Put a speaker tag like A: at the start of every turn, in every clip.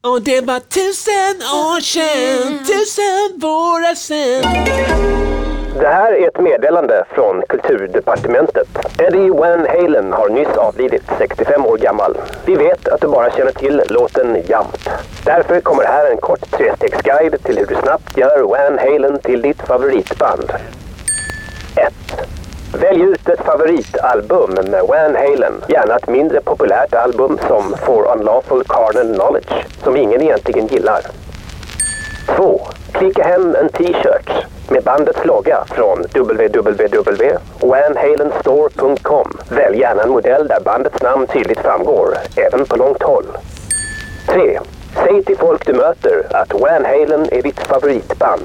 A: Och det var tusen år sedan, tusen vårar sedan.
B: Det här är ett meddelande från Kulturdepartementet. Eddie Van Halen har nyss avlidit, 65 år gammal. Vi vet att du bara känner till låten Jump. Därför kommer här en kort trestegsguide till hur du snabbt gör Van Halen till ditt favoritband. 1. Välj ut ett favoritalbum med Van Halen. Gärna ett mindre populärt album som For Unlawful Carnal Knowledge, som ingen egentligen gillar. 2. Klicka hem en t-shirt med bandets logga från www.wanhalenstore.com. Välj gärna en modell där bandets namn tydligt framgår, även på långt håll. 3. Säg till folk du möter att Van Halen är ditt favoritband.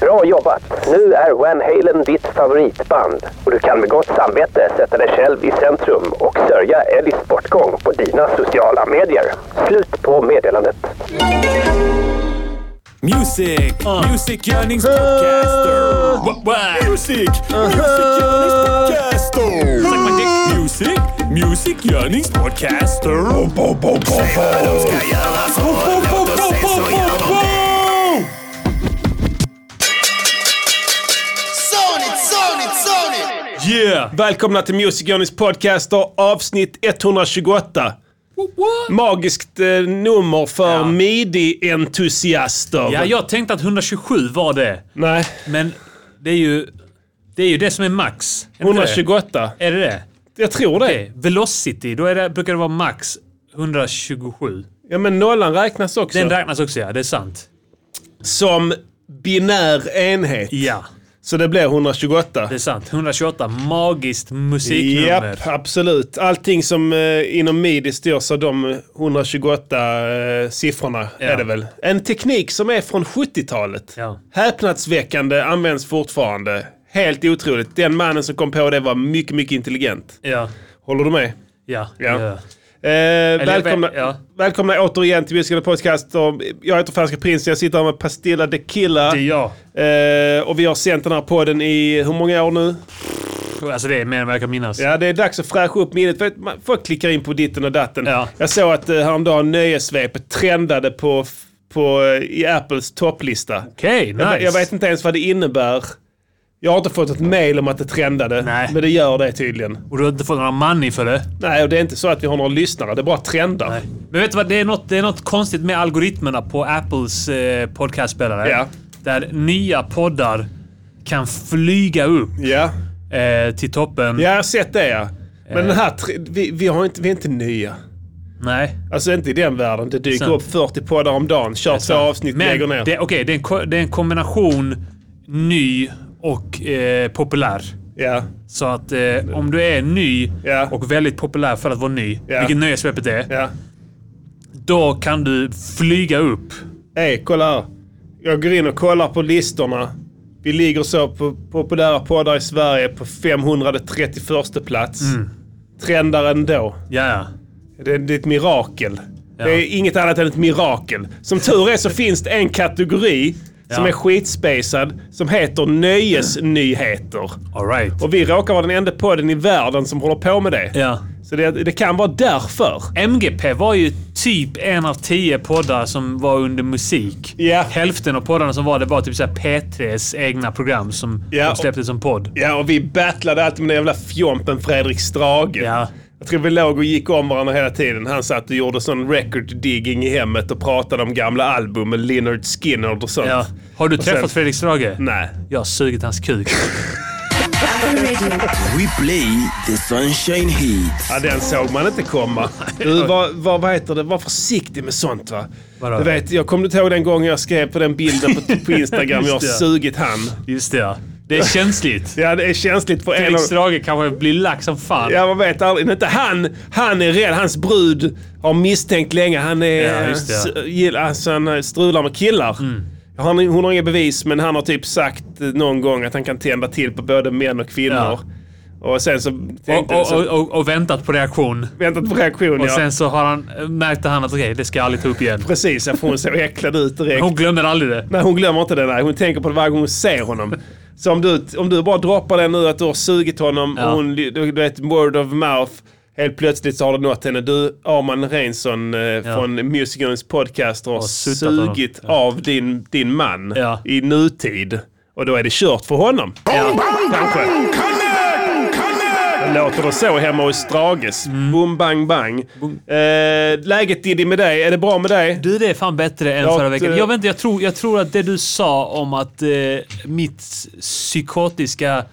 B: Bra jobbat! Nu är Van Halen ditt favoritband och du kan med gott samvete sätta dig själv i centrum och sörja Eddies bortgång på dina sociala medier. Slut på meddelandet.
C: Music! Music Yearnings Podcaster! Wha- what? Ah. Music! Music Yearnings Podcaster! Suck my dick. Music! Music Yearnings Podcaster! Bo, bo, bo, bo, bo. Bo, bo, bo, bo, bo, bo, bo. Yeah!
A: Välkomna till Music Journeys podcaster avsnitt 128. Magiskt eh, nummer för
C: Ja.
A: midi-entusiaster.
C: Ja, jag tänkte att 127 var det.
A: Nej,
C: Men det är ju det, är ju det som är max. Är det inte det?
A: 128.
C: Är det det?
A: Jag tror det.
C: Okej, Velocity, då är det, brukar det vara max 127.
A: Ja, men nollan räknas också.
C: Den räknas också ja, det är sant.
A: Som binär enhet.
C: Ja,
A: Så det blir 128.
C: det är sant. 128, magiskt musiknummer.
A: Japp, absolut. Allting som eh, inom midi styrs av de 128 eh, siffrorna
C: Ja.
A: är det väl. En teknik som är från 70-talet.
C: Ja.
A: Häpnadsväckande används fortfarande. Helt otroligt. Den mannen som kom på det var mycket, mycket intelligent.
C: Ja,
A: Håller du med?
C: ja,
A: Ja.
C: ja.
A: Eh, välkomna,
C: vä- ja.
A: välkomna återigen till Musical Podcast. Och Jag heter Färska Prins jag sitter här med Pastilla Tequila.
C: Det är jag.
A: Eh, och vi har sänt den här podden i hur många år nu?
C: Alltså det är mer än vad jag kan minnas.
A: Ja, det är dags att fräscha upp minnet. För att man- Folk klickar in på ditten och datten.
C: Ja.
A: Jag såg att eh, häromdagen nöjesvepet trendade på, f- på, eh, i Apples topplista.
C: Okej,
A: Jag,
C: nice.
A: jag vet inte ens vad det innebär. Jag har inte fått ett mail om att det trendade,
C: Nej.
A: men det gör det tydligen.
C: Och du har inte fått några money för det.
A: Nej, och det är inte så att vi har några lyssnare. Det bara trendar.
C: Nej. Men vet du vad? Det är, något, det är något konstigt med algoritmerna på Apples eh, podcastspelare.
A: Ja.
C: Där nya poddar kan flyga upp
A: Ja.
C: eh, till toppen.
A: ja, jag har sett det ja. Men
C: Eh.
A: den här, tre- vi, vi, har inte, vi är inte nya.
C: Nej.
A: Alltså inte i den världen. Det dyker
C: Sant.
A: upp 40 poddar om dagen, kör två avsnitt,
C: Men
A: lägger ner.
C: det, okej, det, är en, ko- det är en kombination ny och eh, populär.
A: Ja.
C: Så att eh, om du är ny
A: Ja.
C: och väldigt populär för att vara ny,
A: Ja.
C: vilket nöjesvepet är,
A: Ja.
C: då kan du flyga upp.
A: Hej, kolla här. Jag går in och kollar på listorna. Vi ligger så på populära poddar i Sverige på 531 plats.
C: Mm.
A: Trendar ändå.
C: Ja, ja.
A: Det, det är ett mirakel.
C: Ja.
A: Det är inget annat än ett mirakel. Som tur är så finns det en kategori som
C: Ja.
A: är skitspacad som heter nöjesnyheter.
C: All right.
A: Och vi råkar vara den enda podden i världen som håller på med det.
C: Ja.
A: Så det, det kan vara därför.
C: MGP var ju typ en av tio poddar som var under musik.
A: Ja.
C: Hälften av poddarna som var det var typ såhär P3s egna program som
A: Ja,
C: de släppte som podd.
A: Ja, och vi battlade alltid med den jävla fjompen Fredrik Strage.
C: Ja.
A: Jag tror vi låg och gick om varandra hela tiden. Han satt och gjorde sån record digging i hemmet och pratade om gamla album med Lynyrd Skynyrd och sånt.
C: Ja. Har du
A: sen-
C: träffat Fredrik Strage?
A: Nej.
C: Jag har sugit hans kuk.
D: We play the sunshine heat.
A: Ja, den såg man inte komma. Du, var, var, vad heter det? Var försiktig med sånt va?
C: Vadå?
A: Du vet, jag kommer inte ihåg den gången jag skrev på den bilden på, på Instagram. jag har
C: Just det.
A: sugit han.
C: Just det, ja. Det är känsligt.
A: Ja, det är känsligt för en
C: Fredrik
A: av...
C: Strage kanske blir lack som fan.
A: Ja, man vet aldrig. Men Inte han. Han är rädd. Hans brud har misstänkt länge. Han är...
C: Ja, just det, ja. Mm.
A: s- gillar- alltså, han strular med killar. Han, hon har inga bevis, men han har typ sagt eh, någon gång att han kan tända till på både män och kvinnor. Och sen så
C: Och,
A: tänkte jag
C: och,
A: så,
C: och, och, och väntat på reaktion.
A: väntat på reaktion.
C: Och
A: ja.
C: sen så har han, märkte han att okej, det ska jag aldrig ta upp igen.
A: Precis, ja, för hon såg äcklad ut direkt.
C: Hon glömmer aldrig det.
A: Nej, hon glömmer inte det. Nej. Hon tänker på det varje gång hon ser honom. Så om du, om du bara droppar det nu att du har sugit honom
C: Ja.
A: och hon, du du vet, word of mouth. Helt plötsligt så har det nått henne. Du, Arman Reinsson eh, från Music Units Podcaster har
C: suttit honom.
A: sugit av din, din man
C: Ja.
A: i nutid. Och då är det kört för honom. Kanske. Det Låter det så hemma hos Strages?
C: Mm.
A: Boom, bang, bang. Eh, läget Diddy med dig? Är det bra med dig?
C: Du, det är fan bättre än
A: Ja,
C: förra veckan.
A: det-
C: Jag, vet inte, jag, tror, jag tror att det du sa om att eh, mitt psykotiska,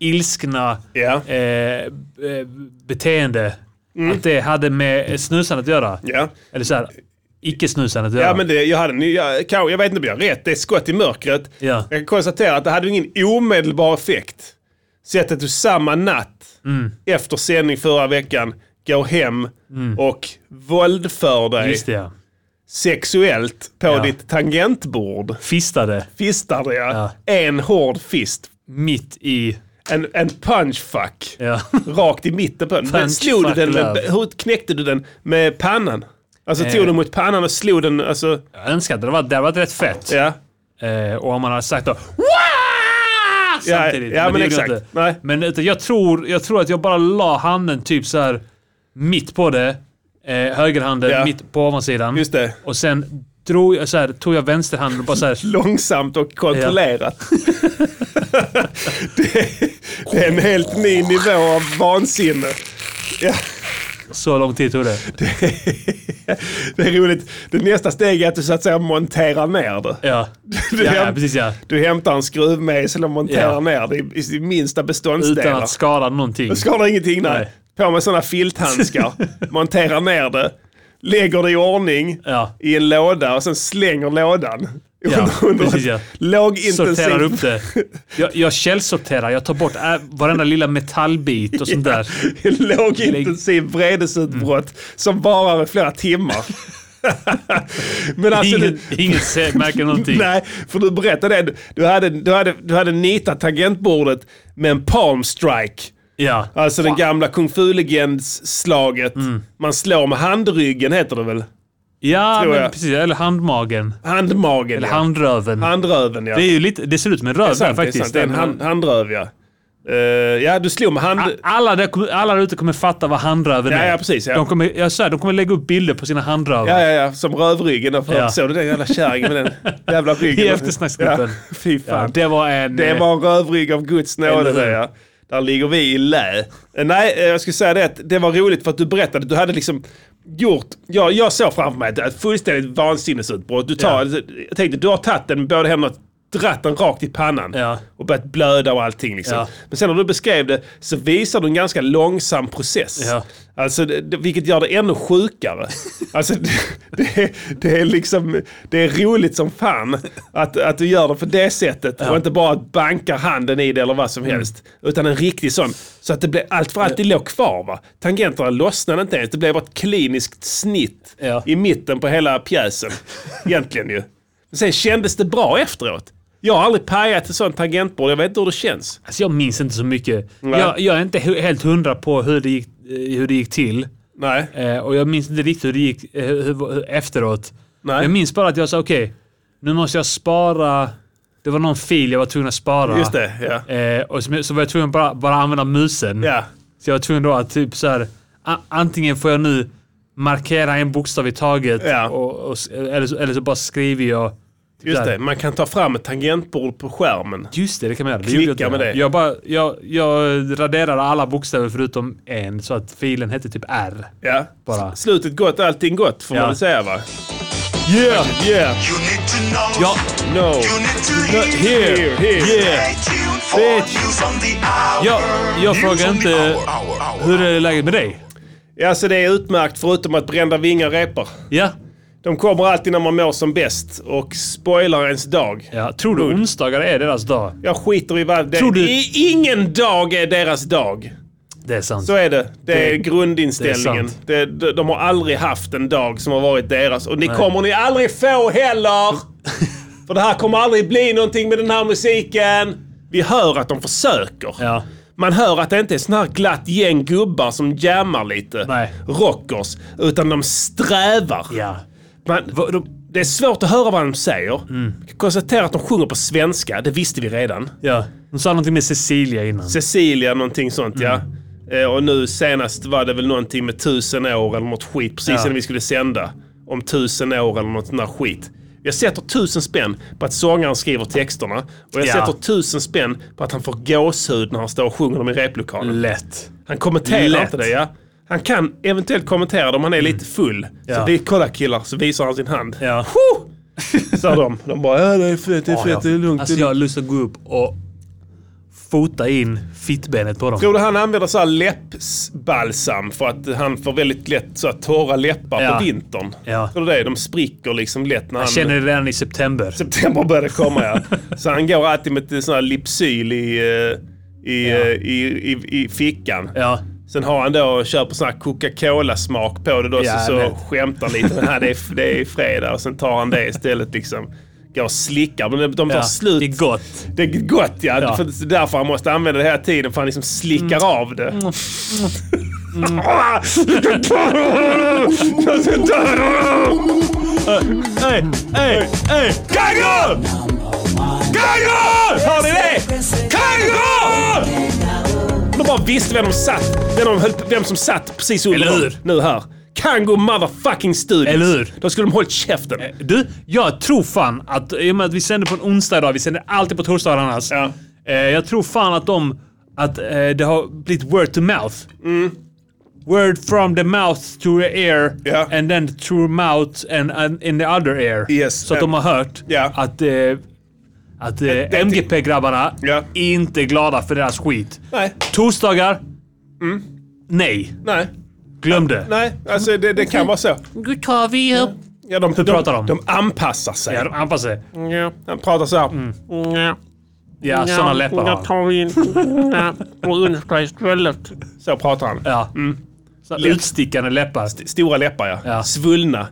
C: ilskna
A: Ja. Mm.
C: eh, eh, beteende, att det hade med snusandet att göra.
A: Ja.
C: Eller så här, icke-snusandet att göra.
A: Ja, men det, jag, hade, en- jag, kan- jag vet inte om jag har rätt. Det är skott i mörkret.
C: Ja.
A: Jag kan konstatera att det hade ingen omedelbar effekt. Sett att du samma natt
C: Mm.
A: efter sändning förra veckan går hem och våldför dig
C: Mm. Just det, ja.
A: sexuellt på
C: Ja.
A: ditt tangentbord.
C: Fistade
A: Fistar det, ja.
C: Ja.
A: En hård fist.
C: mitt i...
A: En, en punchfuck.
C: Ja.
A: Rakt i mitten på den. Men slog du den med,
C: Punchfuck
A: hur knäckte du den? Med pannan? Alltså
C: Eh.
A: tog den mot pannan och slog den, alltså,
C: Jag önskar att det var, det hade varit rätt fett.
A: ja.
C: Eh, och om man hade sagt då "Wah!"
A: Ja,
C: samtidigt.
A: ja, men
C: det gjorde
A: exakt.
C: jag inte.
A: Nej.
C: Men utan jag, tror, jag tror att jag bara la handen typ så här mitt på det. Eh, högerhanden
A: Ja.
C: mitt på ovansidan.
A: Just det.
C: Och sen drog jag så här, tog jag vänsterhanden och bara så här.
A: Långsamt och kontrollerat. det, är, det är en helt ny nivå av vansinne.
C: så lång tid tog det.
A: Det är roligt. Det nästa steg är att du så att säga monterar ner det.
C: Ja,
A: Du,
C: ja, ja
A: häm-
C: precis ja.
A: du hämtar en skruvmejsel och monterar
C: Ja.
A: ner det i, i sin minsta
C: Utan
A: beståndsdelar.
C: att skada någonting.
A: Det skadar ingenting nej.
C: Nej.
A: På med sådana filthandskar, monterar ner det, lägger det i ordning
C: Ja.
A: i en låda och sen slänger lådan.
C: Ja, precis,
A: ett
C: ja.
A: Lågintensivt.
C: Sorterar upp det. Jag, jag källsorterar. Jag tar bort äh, varenda lilla metallbit och sånt där.
A: Lågintensiv vredesutbrott som varar i flera timmar. Men alltså,
C: Ingen,
A: du,
C: ingen ser- märker någonting.
A: Nej, för du berättade det. Du hade, du hade, du hade nitat tangentbordet med en palm strike.
C: Ja.
A: Alltså den gamla kung fu-legendsslaget.
C: Mm.
A: Man slår med handryggen heter det väl?
C: Ja,
A: tror jag.
C: men precis. Eller handmagen.
A: Handmagen
C: Eller
A: ja.
C: handröven.
A: handröven ja.
C: det, är ju lite, det ser ut som en röv
A: sant,
C: där faktiskt.
A: Det är, sant. det är en hand, handröv ja. Eh, ja, du slog med hand...
C: A- alla, där, kommer- alla där ute kommer fatta vad handröven
A: Ja,
C: är.
A: ja, precis, ja.
C: De, kommer, jag säger, de kommer lägga upp bilder på sina handrövar.
A: Ja, ja, ja. Som rövryggen. där förut.
C: Ja.
A: Såg du den jävla kärringen med den jävla ryggen?
C: I eftersnacksgruppen.
A: Ja, fy fan.
C: Ja,
A: det,
C: det var en... eh,
A: var en rövrygg av Guds nåde
C: Eller hur?
A: det ja. Där ligger vi i lä. Eh, Nej, eh, jag skulle säga det att det var roligt för att du berättade. Du hade liksom gjort... Jag, jag såg framför mig ett fullständigt vansinnesutbrott. Du tar, alltså, Jag tänkte, du har tagit den både hem och dratt den rakt i pannan.
C: Ja.
A: Och börjat blöda och allting liksom.
C: Ja.
A: Men sen när du beskrev det så visar du en ganska långsam process.
C: Ja.
A: Alltså, det, det- vilket gör det ännu sjukare. Alltså, det, det, är- det är liksom, det är roligt som fan att, att du gör det på det sättet och inte bara bankar handen i det eller vad som
C: Mm.
A: helst. Utan en riktig sån, så att det blir allt för alltid låg kvar. Va? Tangenterna lossnade inte ens, det blev bara ett kliniskt snitt
C: Ja.
A: i mitten på hela pjäsen. Egentligen ju. Men sen kändes det bra efteråt. Jag har aldrig pajat ett sånt tangentbord, jag vet inte hur det känns.
C: Alltså jag minns inte så mycket. Jag, jag är inte hu- helt hundra på hur det gick, eh, hur det gick till.
A: Nej.
C: Eh, och jag minns inte riktigt hur det gick eh, hur, hur, hur, efteråt.
A: Nej.
C: Jag minns bara att jag sa okej, nu måste jag spara. Det var någon fil jag var tvungen att spara.
A: Just det, ja.
C: Eh, och så, så var jag tvungen att bara, bara använda musen.
A: Ja.
C: Så jag var tvungen då att typ så här, a- antingen får jag nu markera en bokstav i taget
A: Ja.
C: och, och, s- eller, så, eller så bara skriver jag. Typ
A: Just
C: så här.
A: det, man kan ta fram ett tangentbord på skärmen.
C: Just det, det kan man göra. Det
A: Klicka
C: gjorde jag inte.
A: med det.
C: Jag, bara, jag, jag raderade alla bokstäver förutom en så att filen hette typ R.
A: Ja.
C: Bara.
A: S- Slutet gott, allting gott får
C: Ja.
A: man väl säga va?
C: Yeah!
A: Yeah,
E: You need to know.
C: Ja.
A: no,
E: You need to
A: no,
E: hear.
A: here, here.
C: Yeah!
E: Stay tuned for
C: Bitch.
E: news on the hour.
C: Jag, jag
E: News
C: frågar
E: on the
C: inte...
E: hour, hour, hour,
C: Hur
E: hour.
C: är läget med dig?
A: Ja, så det är utmärkt förutom att brända vingar repar.
C: Ja?
A: De kommer alltid när man mår som bäst och spoilar ens dag.
C: ja. Tror du onsdagar är deras dag?
A: Jag skiter i vad det
C: Tror du-
A: I- Ingen dag är deras dag.
C: Det är sant.
A: Så är det. Det, är
C: Det-
A: grundinställningen.
C: det är sant.
A: Det de, de har aldrig haft en dag som har varit deras. Och ni kommer ni aldrig få heller! För det här kommer aldrig bli någonting med den här musiken. Vi hör att de försöker.
C: Ja.
A: Man hör att det inte är sån här glatt gäng gubbar som jammar lite.
C: Nej.
A: Rockers. Utan de strävar.
C: Ja.
A: Man, vad- de, det är svårt att höra vad de säger. Jag kan konstatera att de sjunger på svenska. Det visste vi redan.
C: Ja. De sa någonting med Cecilia innan. Mm.
A: Cecilia någonting sånt ja. Eh, Och nu senast var det väl någonting med tusen år eller något skit precis
C: Ja.
A: innan vi skulle sända. Om tusen år eller något sånt där skit. Jag sätter tusen spänn på att sångaren skriver texterna. Och jag
C: Ja.
A: sätter tusen spänn på att han får gåshud när han står och sjunger dem i replokalen.
C: Lätt.
A: Han kommenterar
C: Lätt. Mm.
A: inte det, ja. Han kan eventuellt kommentera det om han är lite full. Så
C: Ja.
A: det är kolla killar, så visar han sin hand.
C: Ja.
A: Så de, de bara "Äh, ja, det är fett, det är fett, det är lugnt.
C: Alltså
A: det är
C: jag har
A: lugnt.
C: lust att gå upp och fota in fittbenet på dem.
A: Tror du han använder så här läppbalsam för att han får väldigt lätt så här torra läppar
C: Ja.
A: på vintern?
C: Ja.
A: Tror du det? De spricker liksom lätt när han...
C: Jag känner det redan i september.
A: September började komma ja. Så han går alltid med ett sån här Lypsyl i, eh, i, eh, i, i, i fickan.
C: Ja.
A: Sen har han då och köper sån här Coca-Cola-smak på det då,
C: Ja,
A: så,
C: jag
A: så
C: vet.
A: skämtar lite. Men här, det, är, det är fredag och sen tar han det istället liksom. Går och slickar. Men de, de tar
C: Ja,
A: slut.
C: Det är gott.
A: Det är gott ja.
C: Ja.
A: För, det är därför han måste använda det hela tiden. För han liksom slickar av det. Mm.
C: Hej, hej, hej!
A: Kango! Kango! Hör ni det? Kango! De bara visste vem de satt. Vem, de höll, vem som satt precis under
C: Eller
A: dem.
C: hur?
A: Nu här. Kango motherfucking studios.
C: Eller hur? Eh,
A: Då skulle de hållit käften.
C: Du, jag tror fan att i och med att vi sänder på en onsdag idag, vi sänder alltid på torsdagar annars.
A: Ja.
C: Eh, jag tror fan att de, att eh, det har blivit word to mouth.
A: Mm.
C: Word from the mouth to the ear
A: Ja.
C: and then through mouth and, and in the other ear.
A: Yes,
C: Så att
A: eh,
C: de har hört
A: ja.
C: att, eh, att eh, MGP-grabbarna
A: Ja.
C: är inte är glada för deras skit.
A: Nej.
C: Torsdagar?
A: Mm.
C: Nej.
A: Nej.
C: Glöm det.
A: Nej. Alltså det, det kan vara så.
C: Nu tar vi upp...
A: Ja, de, Hur
C: pratar de?
A: De anpassar sig.
C: Ja, Mm. de anpassar sig.
A: Ja. Han pratar så här.
C: Ja, såna sådana läppar har
F: Jag
C: han.
F: tar in och önskar istället.
A: Så pratar han.
C: Ja. Mm. Så utstickande läppar.
A: Stora läppar ja.
C: Ja.
A: Svullna.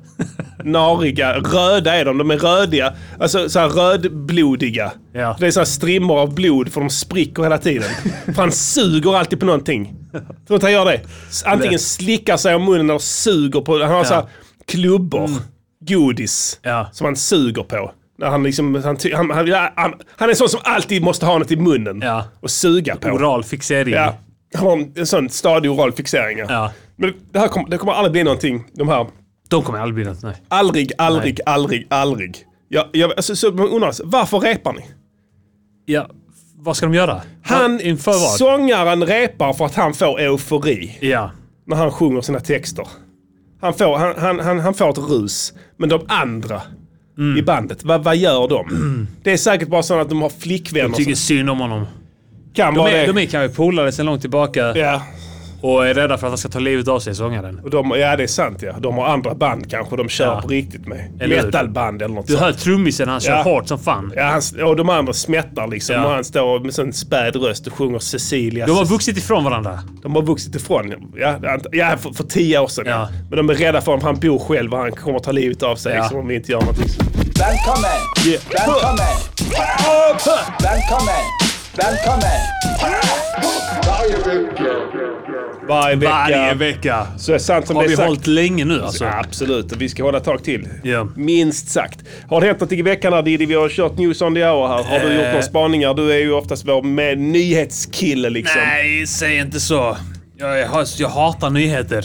A: Nariga. Röda är de. De är rödiga. Alltså så här rödblodiga.
C: Ja.
A: Det är så här strimmor av blod för de spricker hela tiden. för han suger alltid på någonting. Tror du inte han gör det? S- Antingen
C: Nej.
A: slickar sig om munnen eller suger på... Han har så här klubbor. Godis.
C: Mm. Ja.
A: Som han suger på. När han, liksom, han, ty- han, han, han, han är sån som alltid måste ha något i munnen.
C: Ja.
A: Och suga på.
C: Oral fixering.
A: Ja, har en, en sån stadig oral fixering. ja.
C: Ja.
A: Men det här kommer, det kommer aldrig bli någonting. De här,
C: De kommer aldrig bli något, nej.
A: aldrig, aldrig, aldrig, aldrig. Jag, jag, alltså, så man undrar, varför repar ni?
C: Ja, vad ska de göra?
A: Han,
C: Inför vad?
A: sångaren repar för att han får eufori
C: Ja.
A: när han sjunger sina texter. Han får, han, han, han, han får ett rus. Men de andra
C: Mm.
A: i bandet, vad, vad gör de? Det är säkert bara så att de har flickvänner
C: Tycker synd om honom.
A: som kan
C: De
A: vara
C: är,
A: det.
C: de är kanske polare sedan långt tillbaka
A: Ja,
C: och är rädda för att han ska ta livet av sig, sångaren.
A: och de, ja, det är sant ja. De har andra band kanske de kör
C: Ja.
A: på riktigt med.
C: Eller hur?
A: Metalband eller något
C: Du hör trummisen, han kör
A: Ja.
C: hårt som fan.
A: Ja, han, och de andra smättar liksom.
C: Ja.
A: Och han står med sån späd röst och sjunger Cecilia.
C: De har vuxit ifrån varandra.
A: de har vuxit ifrån. Ja, ant- ja för, för tio år sedan. Ja.
C: Ja.
A: Men de är rädda för om han bor själv och han kommer ta livet av sig
C: Ja.
A: liksom, om vi inte gör någonting.
G: Välkommen!
A: Yeah.
G: Välkommen! Välkommen! Välkommen!
A: Varje vecka.
C: Varje vecka.
A: Så är sant som
C: Har
A: det är
C: vi
A: sagt.
C: hållit länge nu alltså?
A: Ja, absolut, och vi ska hålla ett tag till.
C: Ja.
A: Minst sagt. Har det hänt någonting i veckan här Diddy? Vi har kört news on the hour här. Har du
C: Eh.
A: gjort några spaningar? Du är ju oftast vår med nyhetskille liksom.
C: Nej, säg inte så. Jag, jag, jag hatar nyheter.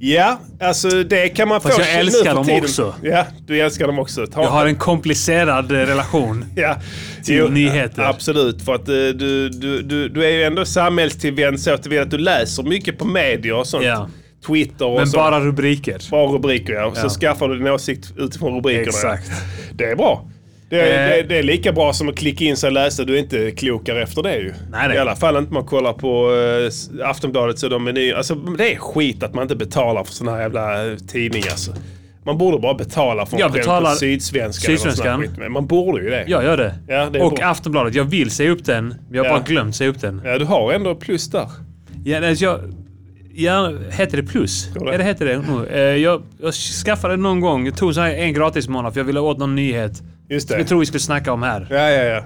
A: Ja, alltså det kan man
C: Fast
A: få
C: jag
A: nu
C: älskar
A: för
C: dem
A: tiden.
C: också.
A: Ja, du älskar dem också. Ta-
C: Jag har en komplicerad eh, relation.
A: ja.
C: till nyheter.
A: Absolut, för att eh, du, du, du, du är ju ändå samhällstillvänd så tillvida att du läser mycket på media och sånt.
C: Ja.
A: Twitter och
C: Men
A: så.
C: bara rubriker.
A: Bara rubriker ja. Så
C: Ja.
A: skaffar du din åsikt utifrån rubrikerna. ja.
C: Exakt.
A: Det är bra. Det är,
C: Eh.
A: det, det är lika bra som att klicka in sig och läsa. Du är inte klokare efter det ju.
C: Nej, nej.
A: I alla fall inte man kollar på eh, s- Aftonbladet så de är nya. Alltså det är skit att man inte betalar för såna här jävla eh, tidningar. Alltså. Man borde bara betala för en
C: Jag
A: skämt på
C: betalar
A: Sydsvenskan. eller något sånt här
C: Sydsvenskan.
A: skit. Men Man borde ju det.
C: Jag gör det.
A: Ja, det är
C: och
A: bra.
C: Aftonbladet. Jag vill säga upp den, men jag har
A: Ja.
C: bara glömt säga upp den.
A: Ja, du har ändå plus där.
C: Ja, alltså jag, ja, heter det plus?
A: det?
C: Ja, det heter det nog. Eh, Jag, jag skaffade någon gång, jag tog så här en gratis månad för jag ville åt någon nyhet.
A: Just det.
C: Som jag tror vi skulle snacka om här. Eh,
A: Ja, ja, ja.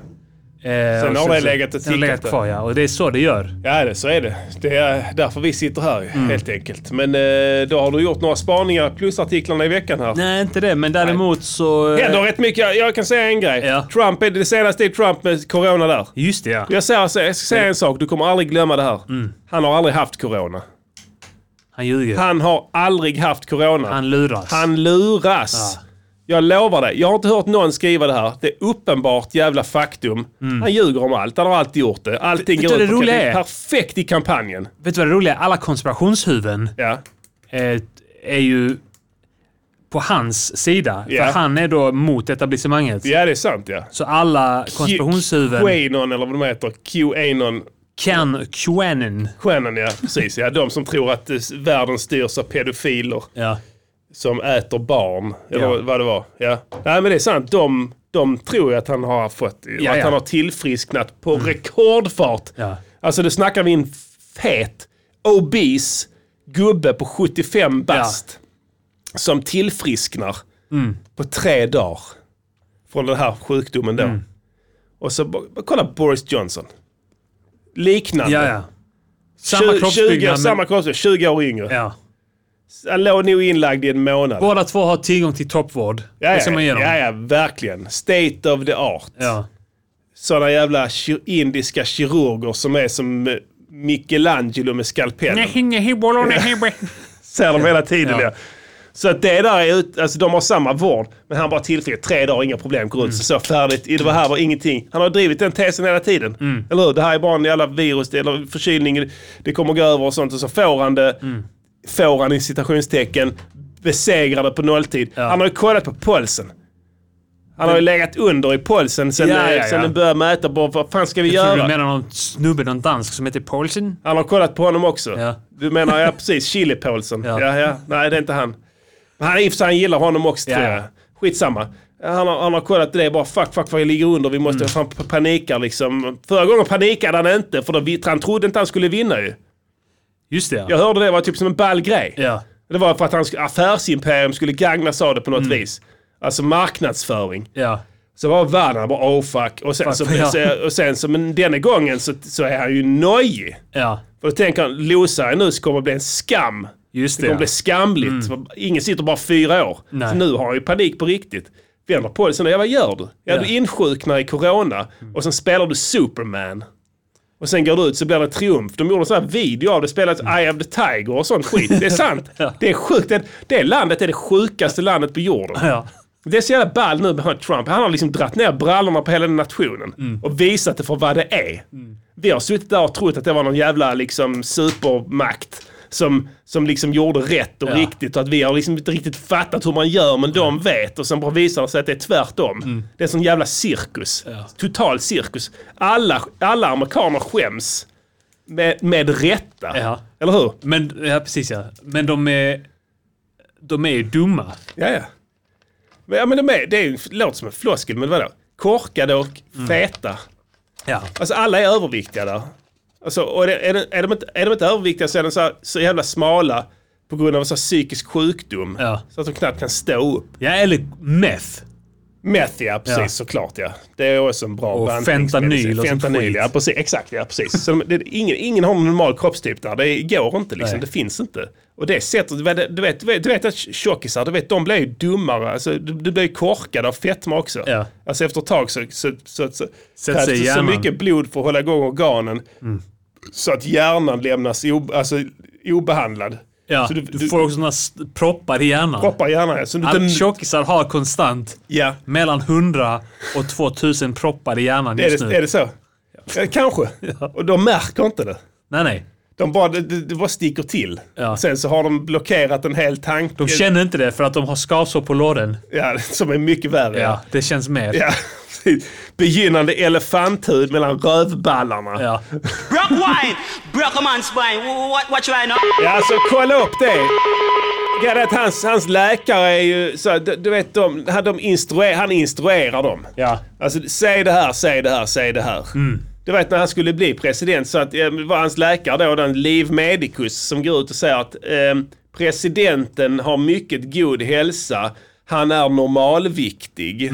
C: Sen
A: har det legat och
C: Sen har det legat
A: tickat
C: kvar, ja. Och det är så det gör.
A: Ja, det, så är det. Det är därför vi sitter här ju,
C: Mm.
A: helt enkelt. Men eh, då har du gjort några spaningar plus artiklarna i veckan här.
C: Nej, inte det. Men däremot så... eh,
A: Det händer rätt mycket. Jag, jag kan säga en grej.
C: Ja.
A: Trump, är det senaste är Trump med corona där.
C: Just det, ja.
A: Jag, säger, så- jag ska säga en sak, du kommer aldrig glömma det här.
C: Mm.
A: Han har aldrig haft corona.
C: Han ljuger. Han,
A: Han har aldrig haft corona.
C: luras.
A: Han luras.
C: Ja.
A: Jag lovar dig, jag har inte hört någon skriva det här. Det är uppenbart jävla faktum. Han ljuger om allt, han har alltid gjort det. Allting
C: Vet Mm. du
A: går
C: vad
A: ut
C: det
A: på
C: roliga
A: kampanj-
C: är?
A: perfekt i kampanjen.
C: Vet du vad det roliga är? Alla konspirationshuven
A: Ja.
C: eh, är ju på hans sida.
A: Ja.
C: För han är då mot etablissemanget.
A: ja, det är sant ja.
C: Så alla konspirationshuven
A: Quanon eller vad de heter. Qanon.
C: kan Quanon.
A: Stjärnan ja, precis. Ja, de som tror att eh, världen styrs av pedofiler
C: Ja.
A: som äter barn. Eller
C: Ja.
A: vad det var. Ja. Nej men det är sant. De, de tror ju att han har fått, och
C: Ja,
A: att
C: ja. Mm.
A: han har tillfrisknat på rekordfart.
C: Ja.
A: Alltså det snackar vi en fet, obese gubbe på 75 bast. Som tillfrisknar
C: Mm.
A: på tre dagar. Från den här sjukdomen då.
C: Mm.
A: Och så, bara- kolla Boris Johnson. Liknande.
C: Ja, ja. Samma
A: Tju- 20,
C: kroppsbyggnad.
A: samma kroppsbyggnad, 20 år yngre.
C: ja.
A: Han låg nog inlagd i en månad.
C: Båda två har tillgång till toppvård.
A: ja,
C: det ska man ge dem.
A: ja, ja, verkligen. State of the art.
C: Ja.
A: Sådana jävla ki- indiska kirurger som är som eh, Michelangelo med skalpellen. Ser de hela tiden
C: Ja.
A: ja. Så att det där är ut, alltså de har samma vård, men han bara tillfrisknar tre dagar, inga problem, går ut,
C: Mm.
A: så färdigt, i det var här var ingenting. Han har drivit den tesen hela tiden.
C: Mm.
A: Eller hur? Det här är bara en jävla virus, eller förkylning, det kommer gå över och sånt. Och så får han det,
C: Mm.
A: får han i citationstecken, besegrade på nolltid. Han har ju kollat på polsen. Han har ju legat under i polsen sen,
C: Ja, ja, ja.
A: sen den började mäta. Bara, vad fan ska vi
C: Jag tror
A: göra?
C: du menar någon snubbe, någon dansk som heter Paulsen?
A: Han har kollat på honom också.
C: Ja.
A: Du menar, ja precis, Chili Paulsen.
C: Ja.
A: Ja. Ja, Nej, det är inte han. Men han, i och för sig, han gillar honom också
C: Ja.
A: tror jag. Skitsamma. Han har, han har kollat det bara, fuck, fuck, fuck, jag ligger under, vi
C: Mm.
A: måste, han p- panikar liksom. Förra gången panikade han inte, för då, vi- han trodde inte han skulle vinna ju.
C: Just det,
A: Jag
C: ja.
A: hörde det var typ som en ball grej.
C: ja.
A: Det var för att hans affärsimperium skulle gagnas av det på något
C: Mm.
A: vis. Alltså marknadsföring.
C: ja.
A: Så var världen bara oh fuck. Och sen, så,
C: ja.
A: så, och sen så, men denna gången så, så är han ju nojig.
C: Ja,
A: För då tänker han, losar jag nu så kommer det bli en skam.
C: just
A: Det kommer bli
C: det. Mm.
A: skamligt. Ingen sitter bara fyra år.
C: Nej.
A: Så nu har han ju panik på riktigt. Vänder på det, sen ja, vad gör du? Ja,
C: Ja. Mm.
A: du insjuknar i corona och sen spelar du Superman. Och sen går du ut så blir det triumf. De gjorde en sån här video av det, spelat
C: Mm.
A: Eye of the Tiger och sånt skit. Det är sant. Det är sjukt. Det, det landet är det sjukaste landet på jorden.
C: ja. Ja.
A: Det är så jävla ball nu med han Trump. Han har liksom dratt ner brallorna på hela den nationen
C: Mm.
A: och visat det för vad det är. Vi har suttit där och trott att det var någon jävla liksom, supermakt som, som liksom gjorde rätt och
C: Ja.
A: riktigt och att vi har liksom inte riktigt fattat hur man gör men de vet och sen bara visar det sig att det är tvärtom.
C: Mm.
A: Det är sån jävla cirkus. Total cirkus. Alla, alla amerikaner skäms. Med, med rätta.
C: Ja.
A: Eller hur?
C: Men, ja precis ja. Men de är... De är ju dumma.
A: Ja, ja. Men, ja, men de är, det är ju, låter som en floskel, men vadå? Korkade och feta.
C: Ja.
A: Alltså alla är överviktiga där. Alltså, och är, det, är, det, är, de inte, är de inte överviktiga så är de så, här, så jävla smala på grund av så här psykisk sjukdom.
C: Ja.
A: Så att de knappt kan stå upp.
C: Ja, eller meth.
A: Meth ja, precis
C: Ja.
A: såklart ja. Det är också en bra
C: Och
A: bantningsmedicin.
C: fentanyl och sånt
A: Fentanyl
C: skit.
A: ja, precis. Exakt ja, precis. Så de, det, ingen, ingen har en normal kroppstyp där. Det går inte liksom.
C: Nej.
A: Det finns inte. Och det sättet, du vet, du vet, du vet, du vet att tjockisar, du vet, de blir ju dummare. Alltså, du, du blir ju korkad av fetma också.
C: Ja.
A: Alltså efter ett tag så, så, så, så
C: sig
A: krävs det så
C: hjärnan. Mm.
A: mycket blod för att hålla igång organen. Så att hjärnan lämnas ob, alltså, obehandlad.
C: Ja.
A: Så
C: Du,
A: du- du-
C: får också såna s- proppar i hjärnan.
A: Proppar hjärnan ja. Så du
C: Alla
A: inte...
C: Tjockisar har konstant
A: Ja.
C: mellan 100 och 2000 proppar i hjärnan
A: Är
C: just nu.
A: det, är det så? Ja. Kanske. Och de märker inte det.
C: Nej, nej.
A: De bara, det, det det bara sticker till.
C: Ja.
A: Sen så har de blockerat en hel tanke.
C: De känner inte det för att de har skavsår på låren.
A: ja, som är mycket värre.
C: Ja, det känns mer.
A: Ja, precis. Begynnande elefanthud mellan rövballarna. Ja.
C: Ja.
H: Brock wine, broke a man's spine. What, what you right now?
A: alltså kolla upp det. Ja, det är att hans, hans läkare är ju så, du, du vet, de, han- de instruer, han instruerar dem.
C: Ja.
A: Alltså, säg det här, säg det här, säg det här. Du vet när han skulle bli president så att, eh, var hans läkare då den Liv Medicus som går ut och säger att eh, presidenten har mycket god hälsa, han är normalviktig.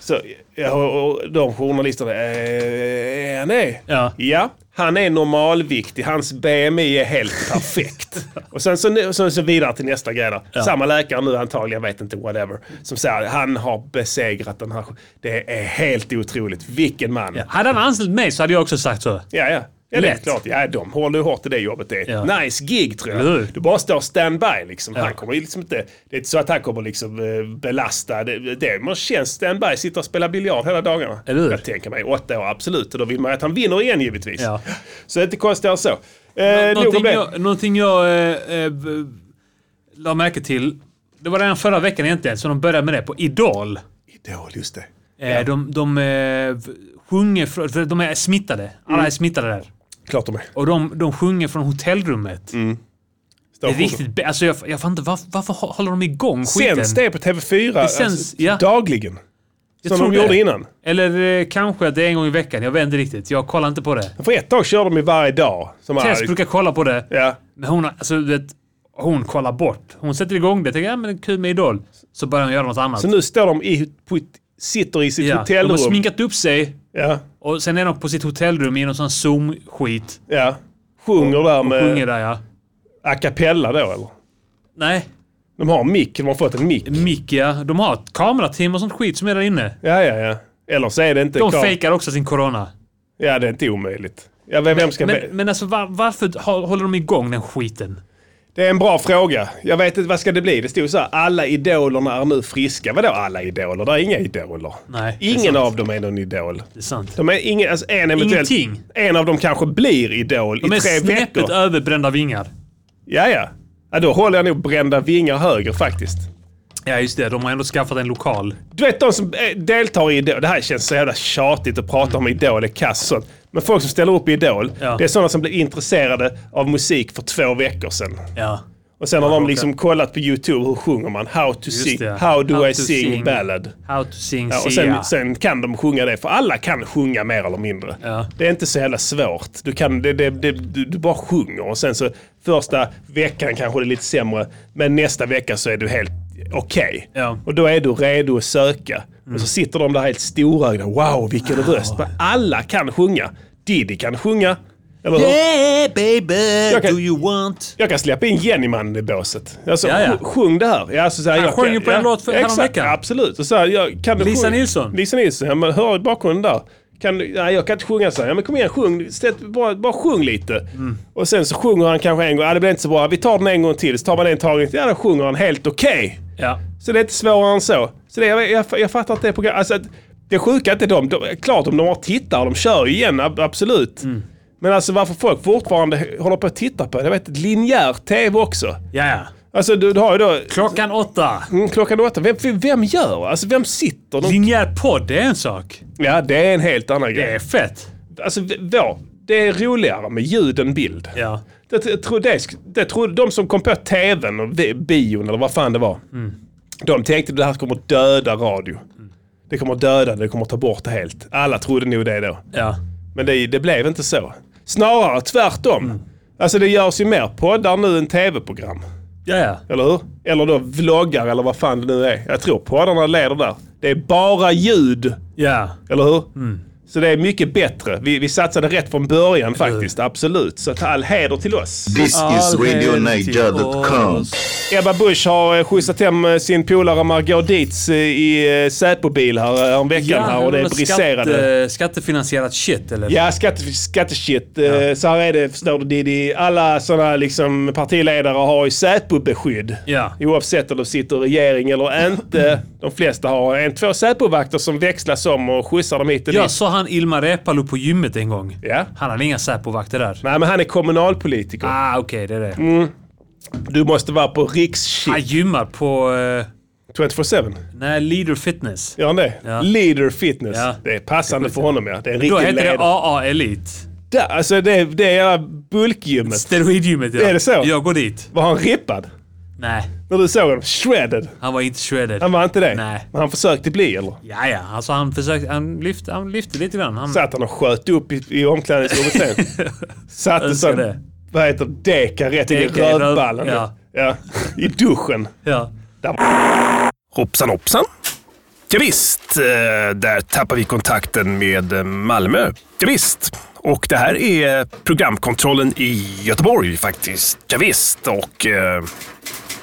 A: Så, ja, och och de journalisterna, eh, är han det?
C: Ja.
A: han är normalviktig. Hans BMI är helt perfekt. och sen så, så, så vidare till nästa grej där. Samma läkare nu antagligen, vet inte, whatever. Som säger, han har besegrat den här. Det är helt otroligt. Vilken man.
C: Ja. Hade han anställt mig så hade jag också sagt så.
A: Ja, ja. Ja, Eh, det är
C: Lätt.
A: klart. Ja, de håller ju hårt i det jobbet. Det är ett
C: Ja.
A: nice gig tror
C: Eller
A: jag.
C: hur?
A: Du bara står standby liksom.
C: Ja.
A: Han kommer ju liksom inte... Det är inte så att han kommer liksom eh, belasta. Det, det man känns standby, sitter och spelar biljard hela dagarna.
C: Eller hur?
A: Jag tänker mig åtta år, absolut. Och då vill man ju att han vinner igen givetvis.
C: Ja.
A: Så det är inte konstigt än så. Eh, nog om
C: någonting,
A: det.
C: jag, någonting jag eh, eh, b- la märke till, det var redan förra veckan egentligen, så de började med det på Idol.
A: Idol, just det.
C: Eh, De, de eh, v- sjunger, för, för de är smittade. Alla
A: Mm.
C: är smittade där.
A: Klart de är.
C: Och de, de sjunger från hotellrummet.
A: Mm. Står
C: Det är
A: och sjunger.
C: riktigt be- alltså jag, jag fattar inte, varför, varför hå- håller de igång skiten?
A: Sänds det på TV4
C: sänds, ja.
A: alltså, dagligen?
C: Jag
A: Som
C: tror
A: de
C: det.
A: gjorde innan?
C: Eller eh, kanske att det är en gång i veckan, jag vet inte riktigt. Jag kollar inte på det.
A: För ett tag körde de ju varje dag. Som
C: Tess
A: är-
C: brukar kolla på det.
A: Ja.
C: Men hon, har- alltså, du vet, hon kollar bort. Hon sätter igång det. Tänker, ja, men kul med Idol. Så börjar hon göra något annat.
A: Så nu står de i, på ett, sitter i sitt
C: ja. De
A: hotellrum.
C: har sminkat upp sig
A: Ja,
C: och sen är de på sitt hotellrum i någon sån zoom-skit.
A: ja. Sjunger där med
C: Sjunger där ja.
A: a cappella då eller?
C: Nej,
A: De har en mick, de har fått en mick.
C: mick ja. De har ett kamerateam och sånt skit som är där inne.
A: Ja, ja, ja. Eller så är det inte
C: De
A: klart.
C: fejkar också sin corona.
A: Ja, det är inte omöjligt. Ja, vem, vem ska be-
C: Men, men alltså var, varför ha- håller de igång den skiten?
A: Det är en bra fråga. Jag vet inte, vad ska det bli? Det stod så här, alla idolerna är nu friska. Vadå alla idoler? Det är inga idoler.
C: Nej, det är
A: Ingen
C: sant.
A: av dem är någon idol.
C: Det är sant.
A: De är ingen, alltså en eventuellt...
C: Ingenting.
A: En av dem kanske blir idol
C: De
A: i
C: är
A: tre
C: snäppet
A: veckor.
C: överbrända vingar.
A: Ja, ja. Ja, då håller jag nog brända vingar höger faktiskt.
C: Ja just det, de har ändå skaffat en lokal.
A: Du vet de som eh, deltar i Idol, det här känns så jävla tjatigt att prata om Idol, det är kass och sånt. Men folk som ställer upp i Idol,
C: Ja.
A: det är sådana som blev intresserade av musik för två veckor sedan.
C: Ja.
A: Och sen har de
C: okej.
A: liksom kollat på YouTube, hur sjunger man? How to
C: Just
A: sing,
C: det.
A: how do
C: How
A: I
C: to
A: sing,
C: sing.
A: ballad.
C: How to sing
A: Ja, och
C: Sia.
A: sen, sen kan de sjunga det, för alla kan sjunga mer eller mindre.
C: Ja.
A: Det är inte så jävla svårt. Du, kan, det, det, det, du, du bara sjunger och sen så första veckan kanske det är lite sämre, men nästa vecka så är du helt okej.
C: Ja. Mm.
A: Och då är du redo att söka. Och så sitter de där helt storögda. Wow, vilken röst. Men alla kan sjunga. Diddy kan sjunga. Eller hur?
C: Hey baby,
A: Jag kan-
C: do you want?
A: Jag kan släppa in Jennyman i båset. Alltså,
C: Ja, ja.
A: sj- Sjung det här. Ja, alltså, så här
C: Han
A: jag
C: sjöng
A: kan-
C: ju på en låt för-
A: exakt,
C: häromveckan.
A: Absolut. Och så här, jag, kan du
C: Lisa
A: sjunga?
C: Nilsson.
A: Lisa Nilsson. Ja, men hör i bakgrunden där. Kan, du- nej, jag kan inte sjunga så här. Ja, men kom igen, sjung. Sätt, bara, bara sjung lite.
C: Mm.
A: Och sen så sjunger han kanske en gång. Ja, det blir inte så bra. Vi tar den en gång till. Så tar man en tagning. Ja, då sjunger han helt okej.
C: Ja.
A: Så det är inte svårare än så. Så det, jag, jag, jag fattar att det är program... Alltså, att det sjuka är inte de, de... Klart om de har tittare, de kör ju igen, ab- absolut.
C: Mm.
A: Men alltså varför folk fortfarande håller på att titta på det, jag vet inte, linjär TV också.
C: Ja, ja.
A: Alltså du, du har ju då...
C: Klockan åtta.
A: Mm, klockan åtta, vem, vem- vem gör? Alltså vem sitter? De,
C: Linjär podd, det är en sak.
A: ja, det är en helt annan
C: Det
A: grej.
C: är fett.
A: Alltså v- vår, det är roligare med ljud än bild.
C: Ja.
A: Det, jag tror det, sk- det trodde de som kom på tvn och vi- bion eller vad fan det var. De tänkte att det här kommer döda radio. Det kommer döda det, det kommer ta bort det helt. Alla trodde nog det då.
C: Ja.
A: Men det, det blev inte så. Snarare tvärtom. Alltså det görs ju mer poddar nu än tv-program.
C: Ja, ja.
A: Eller hur? Eller då vloggar eller vad fan det nu är. Jag tror poddarna leder där. Det är bara ljud.
C: Ja.
A: Eller hur? Så det är mycket bättre. Vi, vi satsade rätt från början faktiskt. Absolut. Så att all heder till oss.
I: This is RadioNiger.com.
A: Ebba Busch har eh, skjutsat hem eh, sin polare Margot Dietz eh, i eh, Säpo-bil här eh, om veckan här och det är
C: något
A: briserade.
C: Skatte, skattefinansierat shit eller?
A: Ja, skatte, skatteshit. Eh, Så här är det, förstår du Diddy. Alla sådana liksom partiledare har ju Säpo-beskydd.
C: Ja.
A: Oavsett om de sitter i regering eller inte. De flesta har en, två Säpo-vakter som växlas om och skjutsar dem hit och
C: Jag
A: dit.
C: sa han Ilmar Reepalu på gymmet en gång.
A: Ja.
C: Han hade inga Säpo-vakter där.
A: Nej, Mm. men han är kommunalpolitiker.
C: Ah, okej, det är det.
A: Du måste vara på riksshit
C: Han gymmar på... eh,
A: 24-7.
C: nej, Leader Fitness.
A: Gör han det?
C: Ja.
A: Leader fitness.
C: Ja.
A: Det är passande för honom ja. Det är en
C: Då
A: riktig
C: heter det
A: ledare.
C: AA Elite.
A: Det, alltså det, är- det är bulkgymmet.
C: Steroidgymmet ja.
A: Är det så?
C: Jag går dit.
A: Var han rippad?
C: Nej,
A: När du såg honom? Shredded?
C: han var inte shredded.
A: Han var inte det?
C: Nej.
A: Men han försökte bli eller?
C: Ja, ja. Alltså han försökte... Han lyfte, han lyfte lite grann. Han,
A: Satt han och sköt upp i, i omklädningsrummet sen. Satt en
C: Önskar
A: sån,
C: det.
A: vad heter det, deka rätt in i
C: Deka i röv-
A: rövballen.
C: ja.
A: Ja. I duschen.
C: ja.
A: Hoppsan hoppsan. Javisst, eh, där tappar vi kontakten med eh, Malmö. Javisst. Och det här är programkontrollen i Göteborg faktiskt. Javisst. Och eh,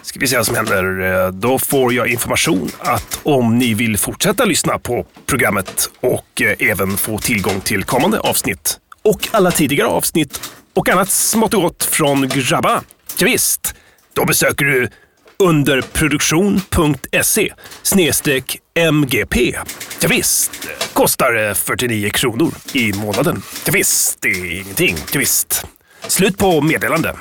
A: ska vi se vad som händer. Eh, Då får jag information att om ni vill fortsätta lyssna på programmet och eh, även få tillgång till kommande avsnitt och alla tidigare avsnitt och annat smått och gott från grabbarna. Javisst. Då besöker du underproduktion.se E snedstreck MGP. Javisst, kostar eh, 49 kronor i månaden. Javisst, det är ingenting. Javisst. Slut på meddelande.